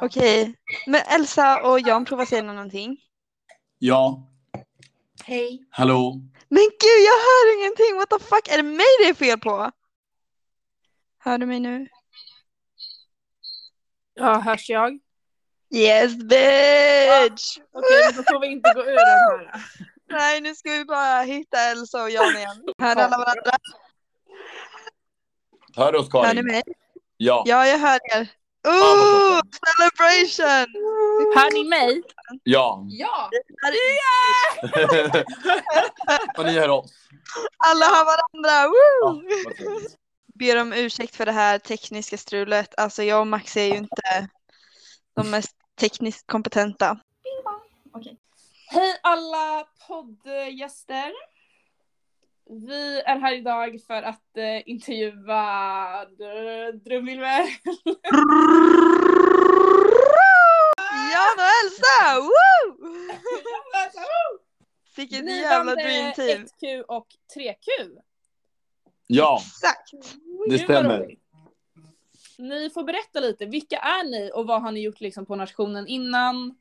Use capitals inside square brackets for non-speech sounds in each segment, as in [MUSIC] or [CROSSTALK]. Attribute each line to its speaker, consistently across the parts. Speaker 1: Okej, men Elsa och Jan provar säga någonting.
Speaker 2: Ja,
Speaker 3: Hej.
Speaker 2: hallå.
Speaker 1: Men gud, jag hör ingenting! What the fuck? Är det mig det är fel på? Hör du mig nu?
Speaker 3: Ja, hörs jag?
Speaker 1: Yes bitch!
Speaker 3: Okej, men då får vi inte gå ur den här.
Speaker 1: Nej, nu ska vi bara hitta Elsa och Jan igen. Hör alla varandra?
Speaker 2: Hör du oss
Speaker 1: Hör ni
Speaker 2: Karin?
Speaker 1: mig?
Speaker 2: Ja.
Speaker 1: Ja, jag hör er.
Speaker 2: vad
Speaker 1: Ooh, celebration!
Speaker 3: Hör ni mig?
Speaker 4: [LAUGHS]
Speaker 2: Ja.
Speaker 4: Ja!
Speaker 2: och ni hör oss.
Speaker 1: Alla har varandra! Woo!
Speaker 2: Ja, vad trevligt.
Speaker 1: Ber om ursäkt för det här tekniska strulet. Alltså jag och Max är ju inte de mest tekniskt kompetenta.
Speaker 4: Hej alla poddgäster! Vi är här idag för att eh, intervjua Dr- Drömvilmer.
Speaker 1: Jan och Elsa! Woo! Vilket jävla
Speaker 4: Blivande
Speaker 1: dream team.
Speaker 4: 1Q och 3Q.
Speaker 2: Ja,
Speaker 1: Exakt.
Speaker 2: det
Speaker 4: Gud, vad
Speaker 2: stämmer.
Speaker 4: roligt. Ni får berätta lite, vilka är ni och vad har ni gjort liksom på nationen innan?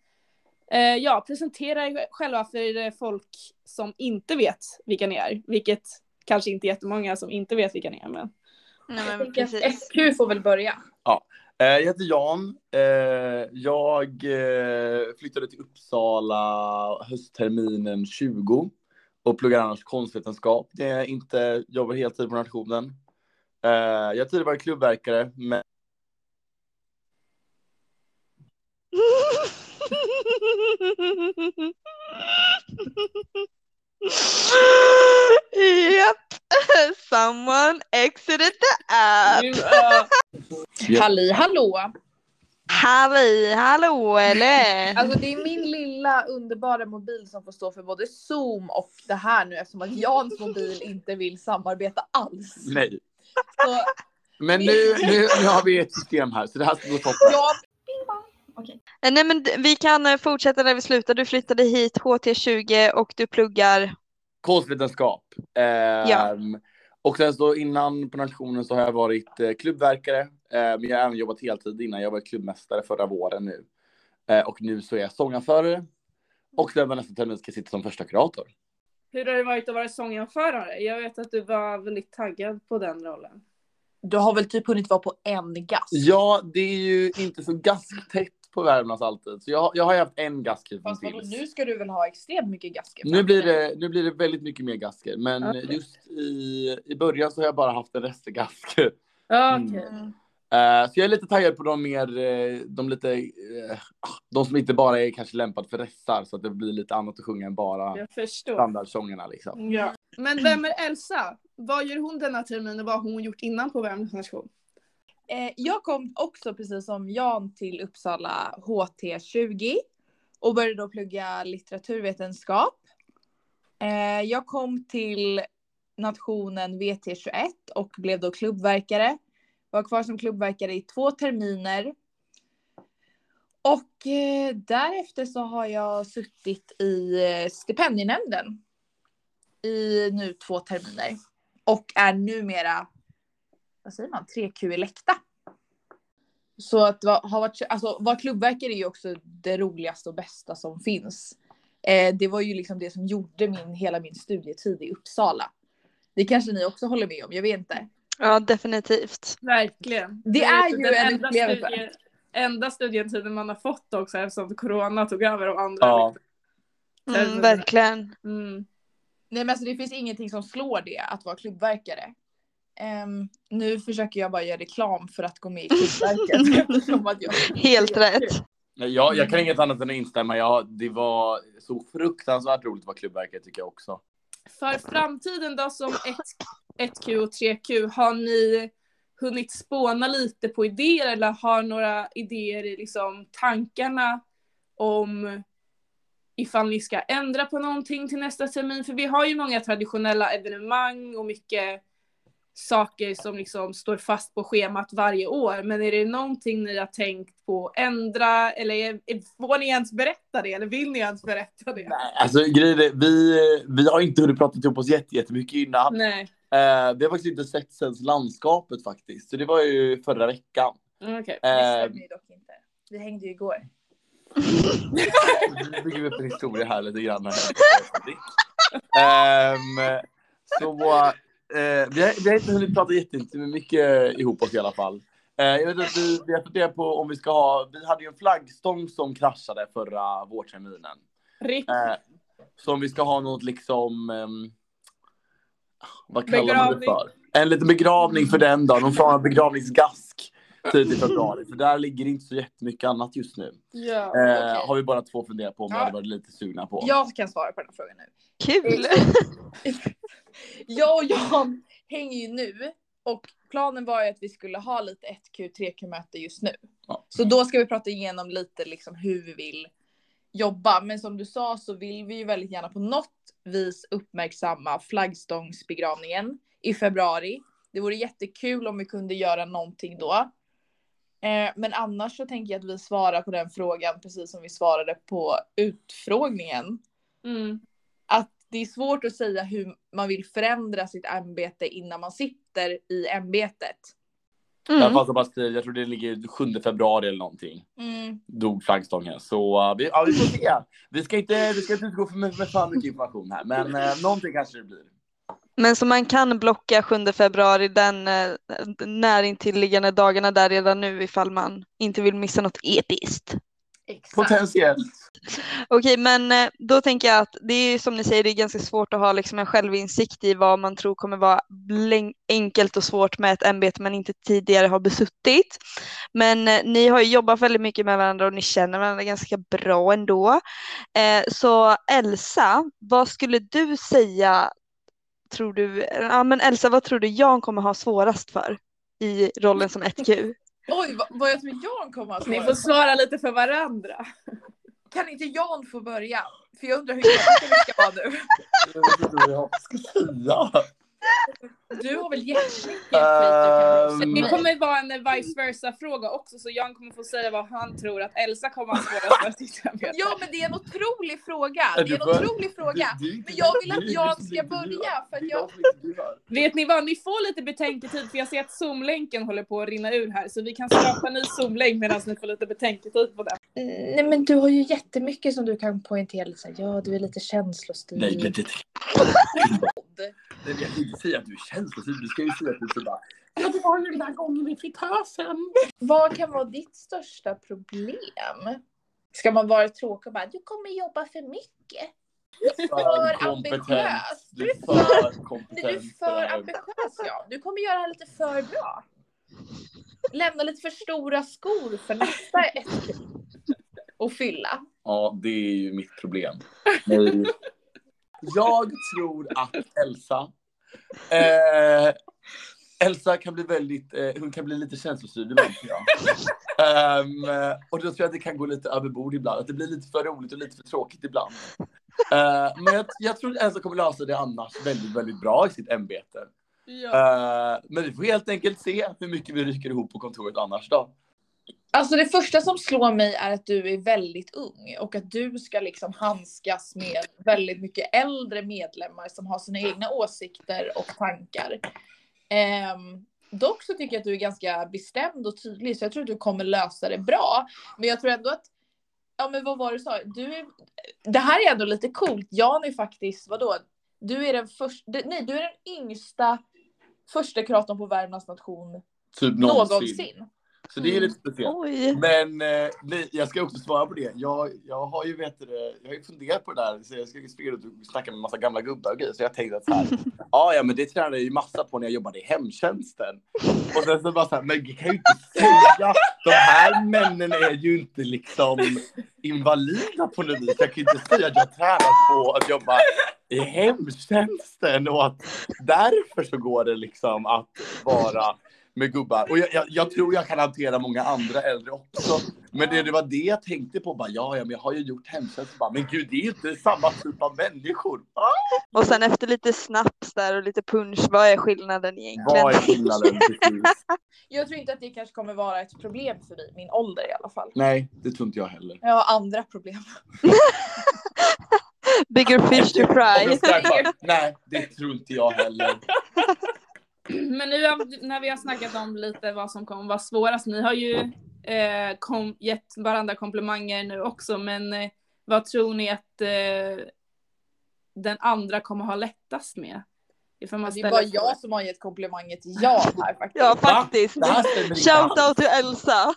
Speaker 4: Eh, ja, presentera er själva för eh, folk som inte vet vilka ni är, vilket kanske inte är jättemånga som inte vet vilka ni är. Men...
Speaker 1: Nej, men
Speaker 3: Jag tänker att
Speaker 1: precis.
Speaker 3: SQ får väl börja.
Speaker 2: Eh, Jag heter Jan. Eh, Jag eh, flyttade till Uppsala höstterminen 20 och pluggar annars konstvetenskap. Det är inte jobbar heltid på nationen. Eh, Jag har tidigare varit klubbverkare, men
Speaker 1: Japp, someone exited the
Speaker 4: [LAUGHS]
Speaker 1: app.
Speaker 4: Nu, eh,
Speaker 2: Ja.
Speaker 3: Halli hallå!
Speaker 1: Halli, hallå eller?
Speaker 3: Alltså det är min lilla underbara mobil som får stå för både zoom och det här nu eftersom att Jans mobil inte vill samarbeta alls.
Speaker 2: nej.
Speaker 3: Så
Speaker 2: Men nu, nu, nu har vi ett system här, så det här ska gå toppen.
Speaker 3: jag
Speaker 1: Eh, Nej men d- vi kan eh, fortsätta där vi slutade. Du flyttade hit HT20 och du pluggar.
Speaker 2: konstvetenskap. Ehm,
Speaker 1: Ja.
Speaker 2: Och sen så innan på nationen så har jag varit eh, klubbverkare. Eh, men jag har även jobbat heltid innan. Jag var klubbmästare förra våren nu. Eh, och nu så är jag sångarförare. Och sen var nästa termin ska jag sitta som första kurator.
Speaker 4: hur har det varit att vara sånganförare? Jag vet att du var väldigt taggad på den rollen.
Speaker 3: Du har väl typ hunnit vara på en gass?
Speaker 2: Ja, det är ju inte så gasktätt på Värmlands alltid. Så jag, jag har ju haft en gask
Speaker 3: Fast vadå,
Speaker 2: hittills.
Speaker 3: nu ska du väl ha extremt mycket gasker?
Speaker 2: Nu blir, det, nu blir det väldigt mycket mer gasker, men
Speaker 4: Okej.
Speaker 2: just i, i början så har jag bara haft en restgask.
Speaker 4: Ja,
Speaker 2: Mm.
Speaker 4: okej.
Speaker 2: Eh, så jag är lite taggad på de mer, eh, de lite, eh, ah, de som inte bara är kanske lämpad för ressar så att det blir lite annat att sjunga än bara
Speaker 4: Jag förstår.
Speaker 2: standardsångerna liksom.
Speaker 4: Ja. Men vem är Elsa? Vad gör hon denna termin och vad har hon gjort innan på Värmlands nation?
Speaker 3: Eh, jag kom också precis som Jan till Uppsala HT20 och började då plugga litteraturvetenskap. Eh, jag kom till nationen VT21 och blev då klubbverkare. Var kvar som klubbverkare i två terminer. Och eh, därefter så har jag suttit i eh, stipendienämnden i nu två terminer och är numera vad säger man, 3Q Elekta. Så att va- ha varit, alltså, vara klubbverkare är ju också det roligaste och bästa som finns. Eh, det var ju liksom det som gjorde min, hela min studietid i Uppsala. Det kanske ni också håller med om, jag vet inte.
Speaker 1: Ja definitivt.
Speaker 4: Verkligen. typ
Speaker 3: Det är ju
Speaker 4: alltså, den
Speaker 3: en
Speaker 4: enda
Speaker 3: upplevelse.
Speaker 4: studie- Enda studietiden man har fått också eftersom corona tog över och andra.
Speaker 2: Ja.
Speaker 1: Mm, verkligen.
Speaker 4: Mm.
Speaker 3: Nej men alltså det finns ingenting som slår det, att vara klubbverkare. Ehm, nu försöker jag bara göra reklam för att gå med
Speaker 4: [LAUGHS]
Speaker 3: i klubbverket. eftersom att jag-
Speaker 1: Helt rätt.
Speaker 2: Nej, Jag, jag kan inget annat än att instämma. Jag, det var så fruktansvärt roligt att vara klubbverkare tycker jag också.
Speaker 4: För framtiden då som 1Q och 3Q, har ni hunnit spåna lite på idéer eller har några idéer i liksom tankarna om ifall ni ska ändra på någonting till nästa termin? För vi har ju många traditionella evenemang och mycket saker som liksom står fast på schemat varje år. Men är det någonting ni har tänkt på att ändra eller är, är- får ni ens berätta det eller vill ni ens berätta det?
Speaker 2: Alltså grejen är, vi, vi har inte hunnit prata ihop oss jätte- jättemycket innan.
Speaker 4: Nej.
Speaker 2: Eh, vi har faktiskt inte sett sen landskapet faktiskt. Så det var ju förra veckan.
Speaker 4: Okej.
Speaker 2: Eh,
Speaker 3: Det stämmer ju dock inte. vi hängde ju igår.
Speaker 2: Nu bygger vi upp en historia här lite grann. Här. Ehm, så, eh, vi, har, vi har inte hunnit prata jättemycket ihop oss i alla fall. Eh, jag vet att vi, vi har funderat på om vi ska ha, vi hade ju en flaggstång som kraschade förra vårterminen.
Speaker 4: Ripp.
Speaker 2: Eh, så om vi ska ha något liksom, ehm, vad kallar man det
Speaker 4: Begravning.
Speaker 2: för? En liten begravning för den dagen, någon form av begravningsgask tidigt i februari. För där ligger inte så jättemycket annat just nu.
Speaker 4: Ja.
Speaker 2: Eh,
Speaker 3: Okej.
Speaker 2: Har vi bara två funderat på om vi
Speaker 3: Ja.
Speaker 2: hade varit lite sugna på.
Speaker 3: Jag kan svara på den här frågan nu.
Speaker 1: Kul!
Speaker 3: [LAUGHS] Jag och Jan hänger ju nu och planen var ju att vi skulle ha lite 1Q, 3Q möte just nu.
Speaker 2: Ja.
Speaker 3: Så då ska vi prata igenom lite liksom hur vi vill jobba. Men som du sa så vill vi ju väldigt gärna på något vis uppmärksamma flaggstångsbegravningen i februari. Det vore jättekul om vi kunde göra någonting då. Eh, Men annars så tänker jag att vi svarar på den frågan precis som vi svarade på utfrågningen
Speaker 4: Mm.
Speaker 3: att det är svårt att säga hur man vill förändra sitt ämbete innan man sitter i ämbetet.
Speaker 2: Jag,
Speaker 1: Mm.
Speaker 2: passar bara till, jag tror det ligger 7 februari eller någonting.
Speaker 3: Mm.
Speaker 2: Dog flaggstången. Så eh, vi, ja, vi får se. Vi ska inte, vi ska inte utgå för- med, med för mycket information här. Men eh, någonting kanske det blir.
Speaker 1: Men så man kan blocka 7 februari den eh, närintilliggande dagarna där redan nu ifall man inte vill missa något episkt.
Speaker 3: Exakt.
Speaker 2: Potentiellt.
Speaker 1: Okej, men eh, då tänker jag att det är ju som ni säger, det är ganska svårt att ha liksom en självinsikt i vad man tror kommer vara bläng- enkelt och svårt med ett ämbete man inte tidigare har besuttit. Men eh, ni har ju jobbat väldigt mycket med varandra och ni känner varandra ganska bra ändå. Eh, så Elsa, vad skulle du säga, tror du, ja men Elsa, vad tror du Jan kommer ha svårast för i rollen som 1Q?
Speaker 3: Oj, vad, vad jag tror Jan kommer att
Speaker 4: Ni
Speaker 3: svara.
Speaker 4: får svara lite för varandra.
Speaker 3: Kan inte Jan få börja? För jag [LAUGHS] undrar hur jämlika vi ska [LAUGHS] vara nu.
Speaker 2: Jag vet inte vad jag ska säga.
Speaker 3: Du har väl jättemycket skit
Speaker 2: Ehm,
Speaker 4: Det
Speaker 3: du kan
Speaker 4: kommer vara en vice versa fråga också så Jan kommer få säga vad han tror att Elsa kommer att svårast för att sitta med.
Speaker 3: Ja men det är en otrolig fråga.
Speaker 2: Ja,
Speaker 3: Det är
Speaker 2: du
Speaker 3: en
Speaker 2: får-
Speaker 3: otrolig fråga.
Speaker 2: Det- det är inte-
Speaker 3: Men jag vill
Speaker 2: det är
Speaker 3: att
Speaker 2: du
Speaker 3: Jan
Speaker 2: som
Speaker 3: ska
Speaker 2: intervjuar.
Speaker 3: börja för att
Speaker 2: Det är
Speaker 3: jag...
Speaker 2: som intervjuar.
Speaker 4: Vet ni vad, ni får lite betänketid för jag ser att zoomlänken håller på att rinna ur här så vi kan skapa en ny zoomlänk medan ni får lite betänketid på den.
Speaker 3: Mm, Nej men du har ju jättemycket som du kan poängtera. Liksom. Ja du är lite känslostyrd.
Speaker 2: Nej, men det, det, jag kan inte säga att du är känslosyn. Du ska ju säga att du så bara... Ja, det var ju den där gången med fritösen.
Speaker 3: Vad kan vara ditt största problem? Ska man vara tråkig och bara du kommer jobba för mycket?
Speaker 2: För
Speaker 3: ambitiös.
Speaker 2: kompetent. Du är för
Speaker 3: Nej, du är
Speaker 2: kompetent.
Speaker 3: för ambitiös ja. Du kommer göra det här lite för bra. Lämna lite för stora skor för nästa ett och fylla.
Speaker 2: Ja, det är ju mitt [LAUGHS] problem. Nej. Jag tror att Elsa... Eh, Elsa kan bli väldigt... Eh, hon kan bli lite känslostyrd ibland, tror jag. Ehm, och då tror jag att det kan gå lite överbord ibland. Att det blir lite för roligt och lite för tråkigt ibland. Eh, men jag, jag tror att Elsa kommer lösa det annars väldigt, väldigt bra i sitt ämbete.
Speaker 4: Ja.
Speaker 2: Eh, men vi får helt enkelt se hur mycket vi rycker ihop på kontoret annars då.
Speaker 3: Alltså det första som slår mig är att du är väldigt ung och att du ska liksom handskas med väldigt mycket äldre medlemmar som har sina egna åsikter och tankar. Ehm, dock så tycker jag att du är ganska bestämd och tydlig så jag tror att du kommer lösa det bra. Men jag tror ändå att, ja men vad var det du sa? Du är, det här är ändå lite coolt. Jan är faktiskt, vadå? Du är den första, nej du är den yngsta första kuratorn på Värmlands nation
Speaker 2: Typ någonsin.
Speaker 3: någonsin.
Speaker 2: Så det är lite speciellt.
Speaker 1: Oj.
Speaker 2: Men eh, nej, jag ska också svara på det. Jag, jag har ju vet du det, jag har ju funderat på det där. Så jag ska ju springa runt och snacka med en massa gamla gubbar och grejer. Så jag tänkte att så här, ja, ja, men det tränade jag ju massa på när jag jobbade i hemtjänsten. Och sen så bara så här, men vi kan ju inte säga. De här männen är ju inte liksom invalida på något vis. Jag kan ju inte säga att jag tränat på att jobba i hemtjänsten och att därför så går det liksom att vara med gubbar. Och jag, jag, jag tror jag kan hantera många andra äldre också. Men det, det var det jag tänkte på. Bara, ja, ja, men jag har ju gjort hemtjänst. Bara, Men gud, det är ju inte samma typ av människor. Ah!
Speaker 1: Och sen efter lite snaps där och lite punch, vad är skillnaden egentligen?
Speaker 2: Vad är skillnaden? precis?
Speaker 3: Jag tror inte att det kanske kommer vara ett problem för dig, min ålder i alla fall.
Speaker 2: Nej, det tror inte jag heller.
Speaker 3: Jag har andra problem.
Speaker 1: Bigger fish to
Speaker 2: Och
Speaker 1: fry.
Speaker 2: jag ska bara, Nej, det tror inte jag heller.
Speaker 4: [CLEARS THROAT] Men nu har- när vi har snackat om lite vad som kommer vara svårast, ni har ju eh, kom, gett varandra komplimanger nu också, men eh, vad tror ni att eh, den andra kommer ha lättast med? Ifall man
Speaker 3: Det är
Speaker 4: ställer
Speaker 3: bara
Speaker 4: frågan.
Speaker 3: jag som har gett komplimangen till jag här faktiskt.
Speaker 1: Ja, faktiskt.
Speaker 2: Det här stämmer inte alls.
Speaker 1: Shoutout till Elsa.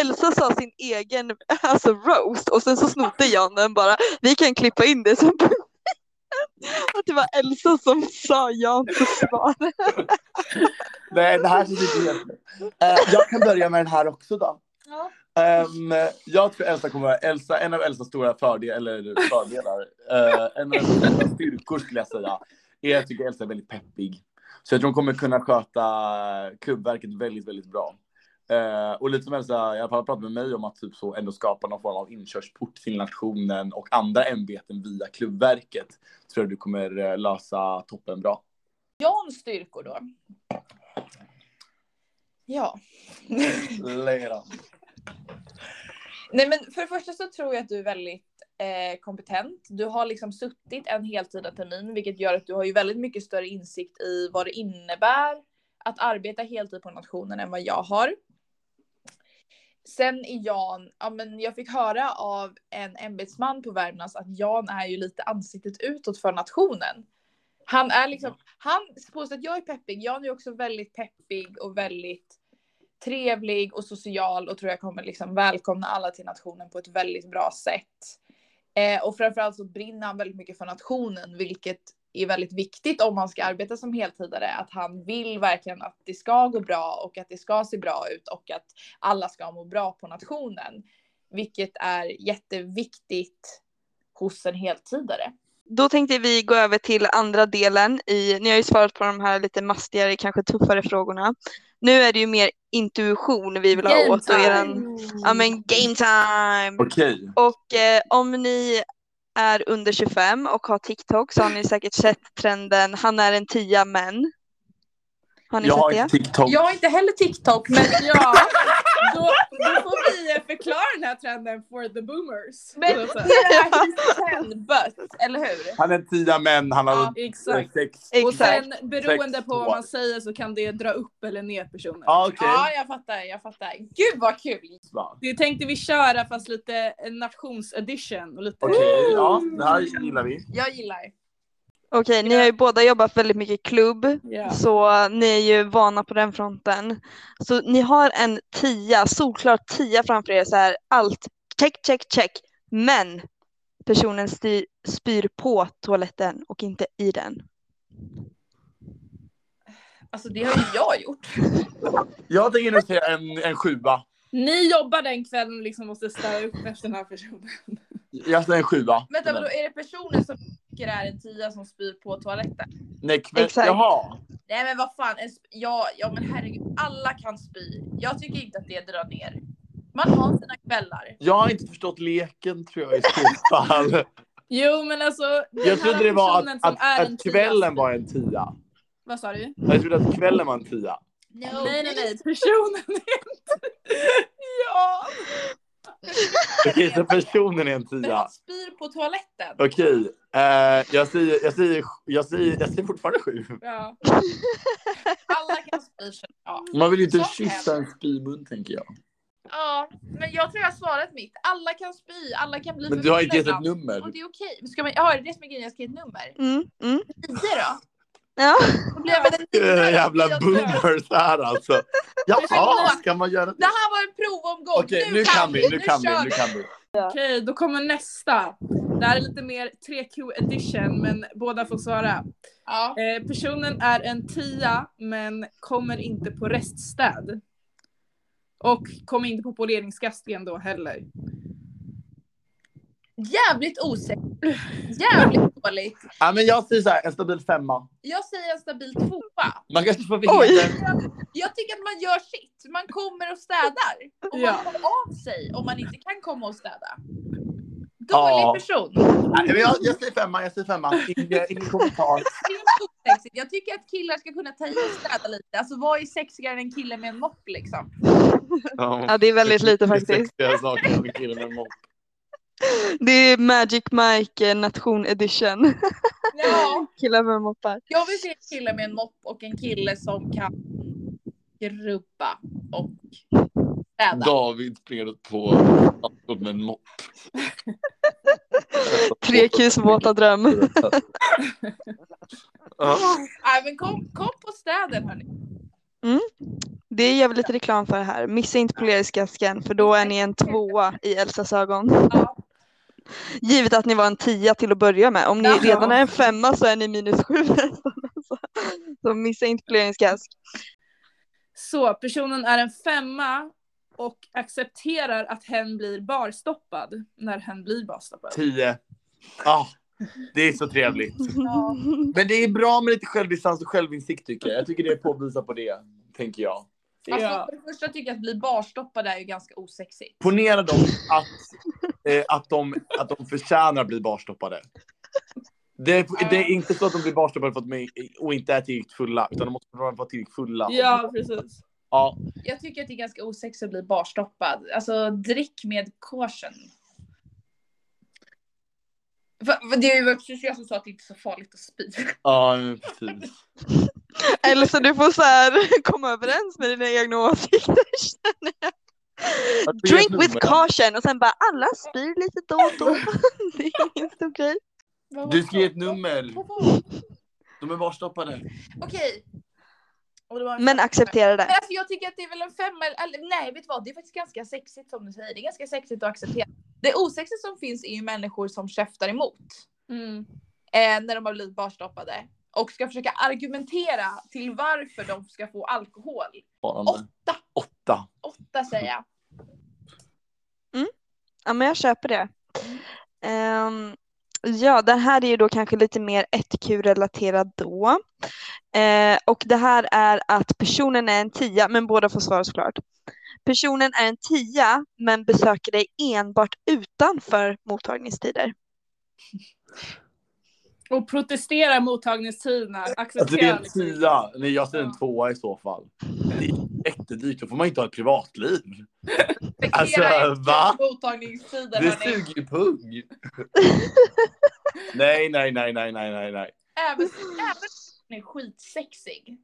Speaker 1: Elsa sa sin egen alltså roast och sen så snodde Jan den bara. Vi kan klippa in det som [LAUGHS] att det var Elsa som sa Jans svar.
Speaker 2: Nej, det här känns inte helt Eh, Jag kan börja med den här också då.
Speaker 3: Ja.
Speaker 2: Ehm, jag tror Elsa kommer vara Elsa, en av Elsas stora fördelar, eller fördelar, eh, en av Elsas stora styrkor skulle jag säga, är att jag tycker Elsa är väldigt peppig. Så jag tror hon kommer kunna sköta kubbverket väldigt, väldigt bra. Eh, och lite som Elsa, i alla fall har pratat med mig om att typ så ändå skapa någon form av inkörsport till nationen och andra ämbeten via klubbverket. Tror jag du kommer eh, lösa toppen bra.
Speaker 3: Jans styrkor då? Ja.
Speaker 2: Leran.
Speaker 3: Nej men för det första så tror jag att du är väldigt eh, kompetent. Du har liksom suttit en heltida termin vilket gör att du har ju väldigt mycket större insikt i vad det innebär att arbeta heltid på nationen än vad jag har. Sen är Jan, ja men jag fick höra av en ämbetsman på Värmlands att Jan är ju lite ansiktet utåt för nationen. Han är liksom, han påstår att jag är peppig, Jan är också väldigt peppig och väldigt trevlig och social och tror jag kommer liksom välkomna alla till nationen på ett väldigt bra sätt. Eh, och framförallt så brinner han väldigt mycket för nationen, vilket är väldigt viktigt om man ska arbeta som heltidare, att han vill verkligen att det ska gå bra och att det ska se bra ut och att alla ska må bra på nationen, vilket är jätteviktigt hos en heltidare.
Speaker 1: Då tänkte vi gå över till andra delen. I, ni har ju svarat på de här lite mastigare, kanske tuffare frågorna. Nu är det ju mer intuition vi vill ha åt och eran, ja men game time.
Speaker 2: Okej.
Speaker 1: Och eh, om ni är under 25 och har TikTok så har ni säkert sett trenden Han är en tia men. Har ni
Speaker 2: Jag har
Speaker 1: sett det?
Speaker 2: inte TikTok.
Speaker 3: Jag har inte heller TikTok, men
Speaker 4: Ja, då, då får vi eh, förklara den här trenden for the boomers.
Speaker 3: Men-
Speaker 4: Så att säga.
Speaker 3: det är he's 10 but, eller hur?
Speaker 2: Han är en tia män, han har
Speaker 3: Ja.
Speaker 2: ja.
Speaker 4: Exakt.
Speaker 2: sex.
Speaker 4: Och
Speaker 1: Exakt.
Speaker 4: sen beroende
Speaker 2: Exakt.
Speaker 4: på vad man säger så kan det dra upp eller ner personer.
Speaker 2: Ja, okej.
Speaker 3: Ja, jag fattar, jag fattar. Gud vad kul!
Speaker 2: Va.
Speaker 4: Det tänkte vi köra fast lite en nationsedition och lite
Speaker 2: Okej, ja, det här gillar vi.
Speaker 3: Jag gillar.
Speaker 1: Okej, ni har ju båda jobbat väldigt mycket i klubb
Speaker 4: Ja.
Speaker 1: så ni är ju vana på den fronten. Så ni har en tia, solklar tia framför er så här allt check, check, check. Men personen styr, spyr på toaletten och inte i den.
Speaker 3: Alltså det har ju jag gjort.
Speaker 2: Jag tänker nu säga en, en sjua.
Speaker 4: Ni jobbar den kvällen och liksom måste städa upp efter den här personen.
Speaker 2: Jag säger en sjua.
Speaker 3: Vänta, vadå, är det personen som tycker det är en tia som spyr på toaletten?
Speaker 2: Nej, kväll.
Speaker 1: Exakt.
Speaker 2: Jaha.
Speaker 3: Nej men vad fan, en sp- ja, ja men herregud, alla kan spy. Jag tycker inte att det drar ner. Man har sina kvällar.
Speaker 2: Jag har inte förstått leken tror jag i så
Speaker 4: [LAUGHS]
Speaker 2: fall.
Speaker 4: Jo men alltså. den här
Speaker 2: Jag trodde det var
Speaker 4: personen
Speaker 2: att,
Speaker 4: som
Speaker 2: att,
Speaker 4: är en
Speaker 2: att
Speaker 4: tia-
Speaker 2: kvällen var en tia.
Speaker 4: Vad sa du?
Speaker 2: Jag trodde att kvällen var en tia.
Speaker 4: Nej nej nej personen är
Speaker 3: Ja!
Speaker 2: Okej, så personen är en
Speaker 3: Men
Speaker 2: tia.
Speaker 3: han spyr på toaletten.
Speaker 2: Okej, eh, jag, säger, jag, säger, jag, säger, jag säger fortfarande sju.
Speaker 4: [LAUGHS] ja.
Speaker 3: Alla kan spy. känner jag.
Speaker 2: Man vill ju inte
Speaker 3: Sånt
Speaker 2: kyssa en spymun tänker jag.
Speaker 3: Ja, men jag tror jag har svarat mitt. Alla kan spy, alla kan bli
Speaker 2: Men du har inte
Speaker 3: förfulla
Speaker 2: gett ett
Speaker 3: ibland.
Speaker 2: nummer.
Speaker 3: Och det är okej. Men Ska man, ja, det är det som är grejen, jag ska ge ett nummer.
Speaker 1: Mm, mm.
Speaker 3: Tio då?
Speaker 1: Ja.
Speaker 3: Då blir jag väl
Speaker 2: [LAUGHS]
Speaker 3: en tia.
Speaker 2: Eh,
Speaker 3: Jag
Speaker 2: Jävla
Speaker 3: tror-
Speaker 2: boomers här alltså. Jaha, ska man göra
Speaker 3: Det
Speaker 2: det?
Speaker 3: här var en provomgång.
Speaker 2: Okej, nu kan vi, nu kan vi,
Speaker 3: kör
Speaker 2: nu kan vi.
Speaker 4: Okej då kommer nästa. Det här är lite mer 3Q edition men båda får svara.
Speaker 3: Ja.
Speaker 4: Eh, personen är en tia men kommer inte på reststäd. Och kommer inte på poleringsgasken då heller.
Speaker 3: Jävligt osäkert. Jävligt dåligt.
Speaker 2: Ja, men jag säger så här, en stabil femma.
Speaker 3: Jag säger en stabil tvåa.
Speaker 2: Man kanske får
Speaker 1: Oj.
Speaker 2: veta.
Speaker 3: Jag tycker att man gör sitt. Man kommer och städar. Och
Speaker 4: Ja.
Speaker 3: man hör av sig om man inte kan komma och städa. Dålig
Speaker 2: Ja.
Speaker 3: person.
Speaker 2: Nej, men jag, jag säger femma, jag säger femma. Ingen, ingen kommentar.
Speaker 3: Extremt osexigt. Jag tycker att killar ska kunna ta i och städa lite. Alltså vad är sexigare än en kille med en mopp liksom?
Speaker 1: ja, det är väldigt lite faktiskt.
Speaker 2: Sexiga saker med killen med mopp.
Speaker 1: Det är Magic Mike eh, nation edition. [LAUGHS]
Speaker 3: Ja.
Speaker 1: Killar med moppar.
Speaker 3: Jag vill se en kille med en mopp och en kille som kan rubba och Städa.
Speaker 2: David springer ut på allt med en mopp.
Speaker 1: Tre kus våta dröm.
Speaker 2: Ja.
Speaker 3: Nej, men kom, kom på städen hörni.
Speaker 1: Det gör vi lite reklam för här. Missa inte poleringsgasken för då är ni en tvåa i Elsas ögon.
Speaker 3: Ja.
Speaker 1: Givet att ni var en tia till att börja med. Om ni
Speaker 3: Ja.
Speaker 1: redan är en femma så är ni minus sju. [LAUGHS] Så- Så missa inte poleringsgask.
Speaker 4: Så personen är en femma och accepterar att hen blir barstoppad när hen blir barstoppad.
Speaker 2: Tio. Ah, det är så trevligt.
Speaker 3: Ja.
Speaker 2: Men det är bra med lite självdistans och självinsikt tycker jag. Jag tycker det påvisar på det, tänker jag.
Speaker 3: Alltså, för det första tycker jag att bli barstoppad är ju ganska osexigt.
Speaker 2: Ponera dem att, eh, att, de, att de förtjänar att bli barstoppade. Det är, det är inte så att de blir barstoppade för att de är- och inte är tillräckligt fulla, utan de måste vara tillräckligt fulla.
Speaker 4: Ja, precis.
Speaker 2: Ja,
Speaker 3: Jag tycker att det är ganska osexigt att bli barstoppad. Alltså drick med korsen. Va- va- Det är ju precis jag som sa att det inte är så farligt att spy. [LAUGHS]
Speaker 2: ja men precis.
Speaker 1: Elsa du får så här [LAUGHS] komma överens med dina egna åsikter.
Speaker 2: Jag tror jag
Speaker 1: Drink
Speaker 2: nummer.
Speaker 1: with caution och sen bara alla spyr lite då och då. [LAUGHS] Det är ingen stor grej.
Speaker 3: Vad var
Speaker 2: Du ska ge ett
Speaker 3: det?
Speaker 2: nummer.
Speaker 3: Vad var det?
Speaker 2: De är barstoppade.
Speaker 3: Okej. Och det var en
Speaker 1: Men
Speaker 3: femma.
Speaker 1: acceptera det.
Speaker 3: Men Alltså, jag tycker att det är väl en femma eller, eller nej vet du vad det är faktiskt ganska sexigt som du säger. Det är ganska sexigt att acceptera. Det osexigt som finns är ju människor som käftar emot.
Speaker 4: Mm.
Speaker 3: eh, när de har blivit barstoppade och ska försöka argumentera till varför de ska få alkohol.
Speaker 2: Sparande.
Speaker 3: Åtta,
Speaker 2: Åtta.
Speaker 3: åtta säger jag.
Speaker 1: Ja men jag köper det. Ehm, ja den här är ju då kanske lite mer 1Q-relaterad då. Eh, och det här är att personen är en tia, men båda får svara såklart. Personen är en tia, men besöker dig enbart utanför
Speaker 2: [LAUGHS]
Speaker 1: mottagningstider.
Speaker 4: Och protesterar mottagningstiderna.
Speaker 2: Alltså det är
Speaker 4: Accepterar
Speaker 2: en
Speaker 4: liksom.
Speaker 2: tia. Nej, jag säger en tvåa i så fall. Det är jättedyrt. Då får man inte ha ett privatliv. Alltså, va?
Speaker 3: Mottagningstider
Speaker 2: Det
Speaker 3: hörni.
Speaker 2: suger
Speaker 1: [LAUGHS]
Speaker 2: ju pung. Nej, nej, nej, nej, nej, nej, nej.
Speaker 3: Även, även om den är skitsexig.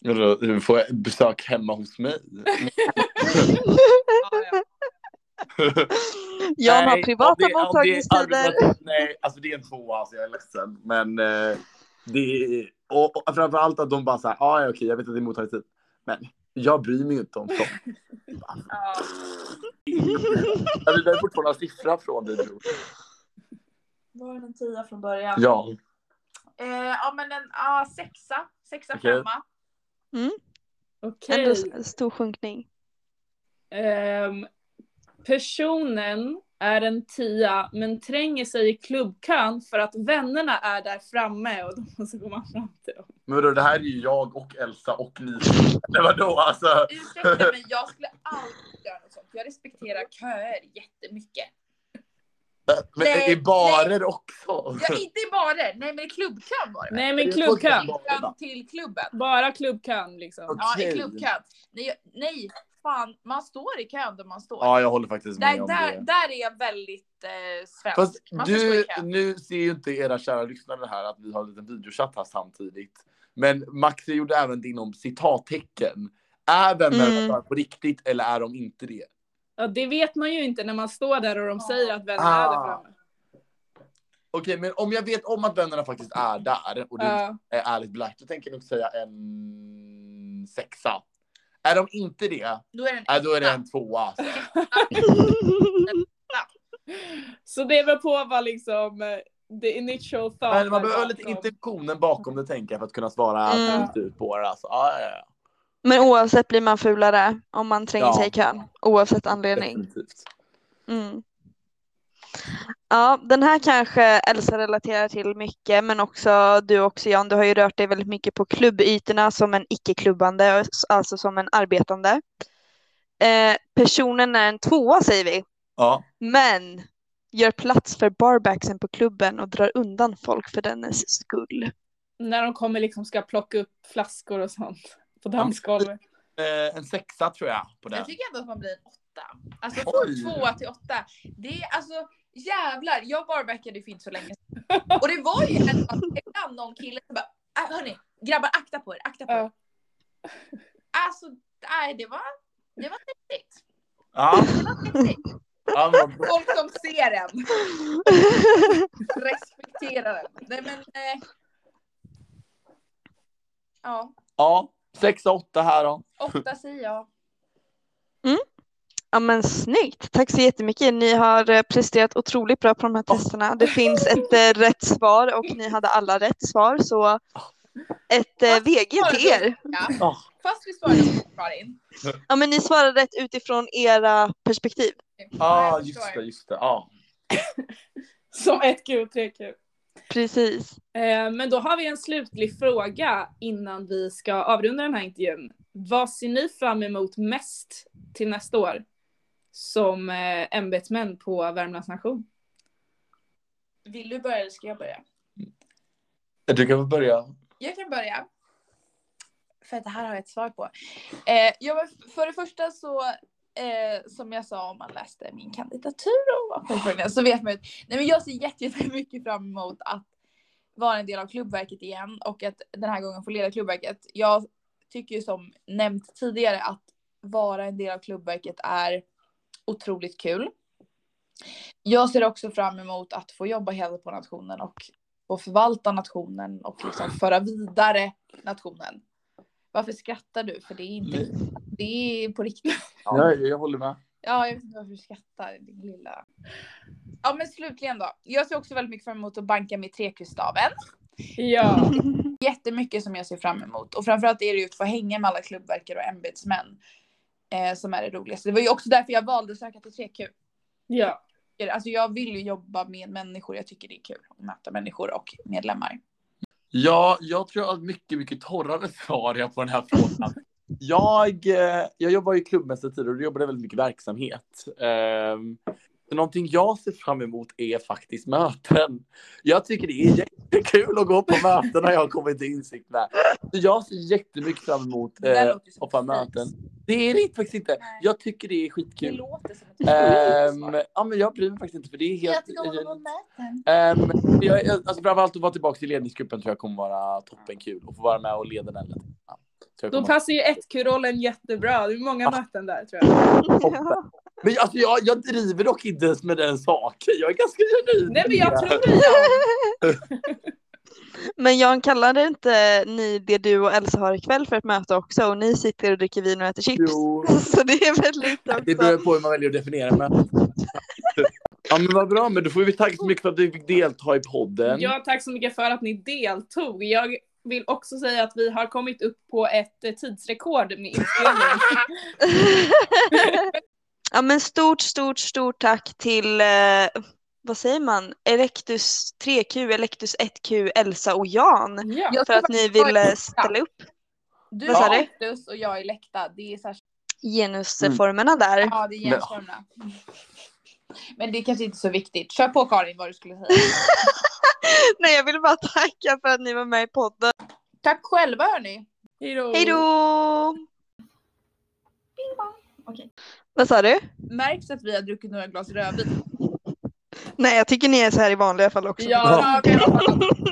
Speaker 2: Vadå, Får jag besök hemma hos [LAUGHS] mig?
Speaker 3: Ja, ja.
Speaker 1: Jag har
Speaker 2: Nej, om
Speaker 1: privata
Speaker 2: det- om det är
Speaker 1: mottagningstider.
Speaker 2: argumentativt- Nej, alltså det är en tvåa, alltså jag är ledsen. Men eh, det är... Och, och framförallt att de bara såhär, ah, ja okej, jag vet att det är mottagningstid. Men jag bryr mig ju inte om sånt. [LAUGHS]
Speaker 3: Ja.
Speaker 2: Jag vill Alltså, fortfarande ha siffra från dig, bror.
Speaker 3: Var den en tia från början?
Speaker 2: Ja.
Speaker 3: Eh, ja men en ja, sexa, sexa
Speaker 2: Okej.
Speaker 3: femma.
Speaker 4: Okej.
Speaker 1: Ändå s- stor sjunkning.
Speaker 4: Ehm, personen är en tia men tränger sig i klubbkön för att vännerna är där framme och då så går man fram till dem.
Speaker 2: Men vadå, det här är ju jag och Elsa och Lisa. Eller vadå, alltså?
Speaker 3: Ursäkta men jag skulle aldrig göra något sånt. Jag respekterar köer jättemycket.
Speaker 2: Men
Speaker 3: Nej,
Speaker 2: i barer också?
Speaker 3: Ja, inte i barer, nej men i klubbkön var det väl?
Speaker 4: Nej
Speaker 2: Det
Speaker 4: men
Speaker 2: är
Speaker 4: klubbkön.
Speaker 2: folk-
Speaker 3: Klubbkön till klubben.
Speaker 4: Bara klubbkön liksom.
Speaker 3: Ja, i
Speaker 2: Okej.
Speaker 3: klubbkön. Nej, nej, fan, man står i kön där man står.
Speaker 2: Ja, jag håller faktiskt med
Speaker 3: där,
Speaker 2: om
Speaker 3: där,
Speaker 2: det.
Speaker 3: där är jag väldigt eh, svensk.
Speaker 2: Fast
Speaker 3: man ska stå i
Speaker 2: du,
Speaker 3: kön.
Speaker 2: nu ser ju inte era kära lyssnare här att vi har en liten videochatt här samtidigt. Men Maxi gjorde även det inom citattecken. Är vännerna
Speaker 1: Mm.
Speaker 2: på riktigt eller är de inte det?
Speaker 4: Ja, det vet man ju inte när man står där och de säger att vännerna är där
Speaker 2: Ah.
Speaker 4: framme.
Speaker 2: Okej, men om jag vet om att vännerna faktiskt är där och det
Speaker 4: Ja.
Speaker 2: är ärligt belagt, då tänker jag nog säga en sexa. Är de inte det,
Speaker 3: Då är den
Speaker 2: äh, då är det en tvåa.
Speaker 4: Så det beror på vad liksom eh, the initial thought.
Speaker 2: Men man
Speaker 4: var
Speaker 2: behöver lite
Speaker 4: bakom.
Speaker 2: intentionen bakom det tänker jag för att kunna svara
Speaker 1: Mm.
Speaker 2: fullt ut på det. Alltså. Ja, ja, ja.
Speaker 1: [LAUGHS] Men oavsett blir man fulare om man tränger
Speaker 2: Ja.
Speaker 1: sig i kön. Oavsett anledning.
Speaker 2: Definitivt.
Speaker 1: Mm. Ja, den här kanske Elsa relaterar till mycket, men också du också Jan, du har ju rört dig väldigt mycket på klubbytorna som en icke-klubbande, alltså som en arbetande. Eh, personen är en tvåa säger vi,
Speaker 2: Ja.
Speaker 1: men gör plats för barbacksen på klubben och drar undan folk för dennes skull. [LAUGHS]
Speaker 4: När de kommer liksom ska plocka upp flaskor och sånt på dansgolvet. [LAUGHS]
Speaker 2: Eh, en sexa tror jag på den.
Speaker 3: Jag tycker ändå att man blir en åtta. Alltså
Speaker 2: Oj.
Speaker 3: från tvåa till åtta. Det är alltså jävlar, jag barbackade ju för inte så länge sedan.
Speaker 2: [LAUGHS]
Speaker 3: Och det var ju en ibland någon kille som bara, "Ah, hörni, grabbar akta på er, akta på er.
Speaker 4: Ja.
Speaker 3: Alltså, nej det var, det var riktigt.
Speaker 2: Ja, ja vad bra.
Speaker 3: Folk som ser en, respekterar den. Nej men. Eh, ja,
Speaker 2: Ja, sexa, åtta här då.
Speaker 3: åtta säger jag.
Speaker 1: Ja men snyggt, tack så jättemycket. Ni har eh, presterat otroligt bra på de här testerna. Det finns ett eh, rätt svar och ni hade alla rätt svar så ett eh, VG till er.
Speaker 2: Ja.
Speaker 3: Fast vi svarade på Karin.
Speaker 1: Ja men ni svarade rätt utifrån era perspektiv.
Speaker 2: Ja, ah, just det, just det. Ja.
Speaker 4: Som 1Q och 3Q.
Speaker 1: Precis.
Speaker 4: Eh, Men då har vi en slutlig fråga innan vi ska avrunda den här intervjun. Vad ser ni fram emot mest till nästa år som eh, ämbetsmän på Värmlands nation?
Speaker 3: Vill du börja eller ska jag börja?
Speaker 2: Du kan väl börja.
Speaker 3: Jag kan börja. För att det här har jag ett svar på. Eh, ja, men för det första så, eh, som jag sa om man läste min kandidatur och var självförsörjande, så vet man ju att- nej, men jag ser jätte- jättemycket fram emot att vara en del av klubbverket igen och att den här gången få leda klubbverket. Jag tycker ju som nämnt tidigare att vara en del av klubbverket är otroligt kul. Jag ser också fram emot att få jobba helt på nationen och och förvalta nationen och liksom föra vidare nationen. Varför skrattar du? För det är inte,
Speaker 2: Nej,
Speaker 3: det är på riktigt.
Speaker 2: jag, jag håller med.
Speaker 3: Ja, jag vet inte varför du skrattar din lilla. Ja, men slutligen då. Jag ser också väldigt mycket fram emot att banka med trekustaven.
Speaker 4: Ja,
Speaker 3: Jättemycket som jag ser fram emot och framförallt är det ju att få hänga med alla klubbverkare och ämbetsmän eh, som är det roligaste. Det var ju också därför jag valde att söka till 3Q.
Speaker 4: ja,
Speaker 3: Alltså jag vill ju jobba med människor. Jag tycker det är kul att möta människor och medlemmar.
Speaker 2: Ja, jag tror jag har ett mycket, mycket torrare svar jag på den här frågan. [LAUGHS] Jag, eh, jag jobbar ju klubbmässigt tidigare och då jobbade jag väldigt mycket verksamhet. Ehm, så någonting jag ser fram emot är faktiskt möten. Jag tycker det är jättekul att gå på möten när jag har kommit till insikt med. Så jag ser jättemycket fram emot
Speaker 3: Det där
Speaker 2: eh,
Speaker 3: låter ju som
Speaker 2: att få
Speaker 3: ett
Speaker 2: möten.
Speaker 3: fis.
Speaker 2: Det är det faktiskt inte.
Speaker 3: Nej.
Speaker 2: Jag tycker det är
Speaker 3: Det
Speaker 2: skitkul.
Speaker 3: låter som ett
Speaker 2: Ehm, ja, men jag bryr mig faktiskt inte för det är helt...
Speaker 3: näten.
Speaker 2: Um, jag, jag- alltså framförallt att vara tillbaka i ledningsgruppen tror jag kommer vara toppenkul och få vara med och leda den. lite. Ja, tror jag
Speaker 4: då
Speaker 2: kommer-
Speaker 4: passar ju 1Q-rollen jättebra. Det är många
Speaker 2: Ja.
Speaker 4: möten där tror jag.
Speaker 1: Ja.
Speaker 2: Men alltså, jag, jag driver dock inte ens med den saken. Jag är ganska genuin.
Speaker 4: Nej men jag tror det. Ja.
Speaker 1: Men Jan kallade inte ni det du och Elsa har ikväll för ett möte också och ni sitter och dricker vin och äter chips.
Speaker 2: Jo,
Speaker 1: [LAUGHS] Så det är väl lite
Speaker 2: det beror
Speaker 1: också.
Speaker 2: på hur man väljer att definiera men. Ja men vad bra, men då får vi tacka så mycket för att du fick delta i podden.
Speaker 4: Ja, tack så mycket för att ni deltog. Jag vill också säga att vi har kommit upp på ett eh, tidsrekord med inspelning.
Speaker 1: Ja men stort, stort, stort tack till, eh, vad säger man, Erectus 3Q, Erectus 1Q, Elsa och Jan
Speaker 4: Ja.
Speaker 3: Jag
Speaker 1: för
Speaker 3: tror
Speaker 1: att ni
Speaker 3: faktiskt jag är
Speaker 1: ville
Speaker 3: läktad.
Speaker 1: ställa upp
Speaker 3: Du
Speaker 1: Vad sa
Speaker 3: är
Speaker 1: du?
Speaker 3: Lektus och jag är Lekta. Det är särskilt,
Speaker 1: genusformerna där.
Speaker 3: Mm. ja det är jämförande. Men det är kanske inte så viktigt. Kör på Karin vad du skulle säga.
Speaker 1: Nej jag vill bara tacka för att ni var med i podden.
Speaker 3: Tack själva hörni.
Speaker 1: Hej då!
Speaker 3: Okej.
Speaker 1: Vad sa du?
Speaker 3: Märks att vi har druckit några glas rödvin?
Speaker 1: Nej jag tycker ni är så här i vanliga fall också.
Speaker 4: Ja,
Speaker 3: Ja, vi har-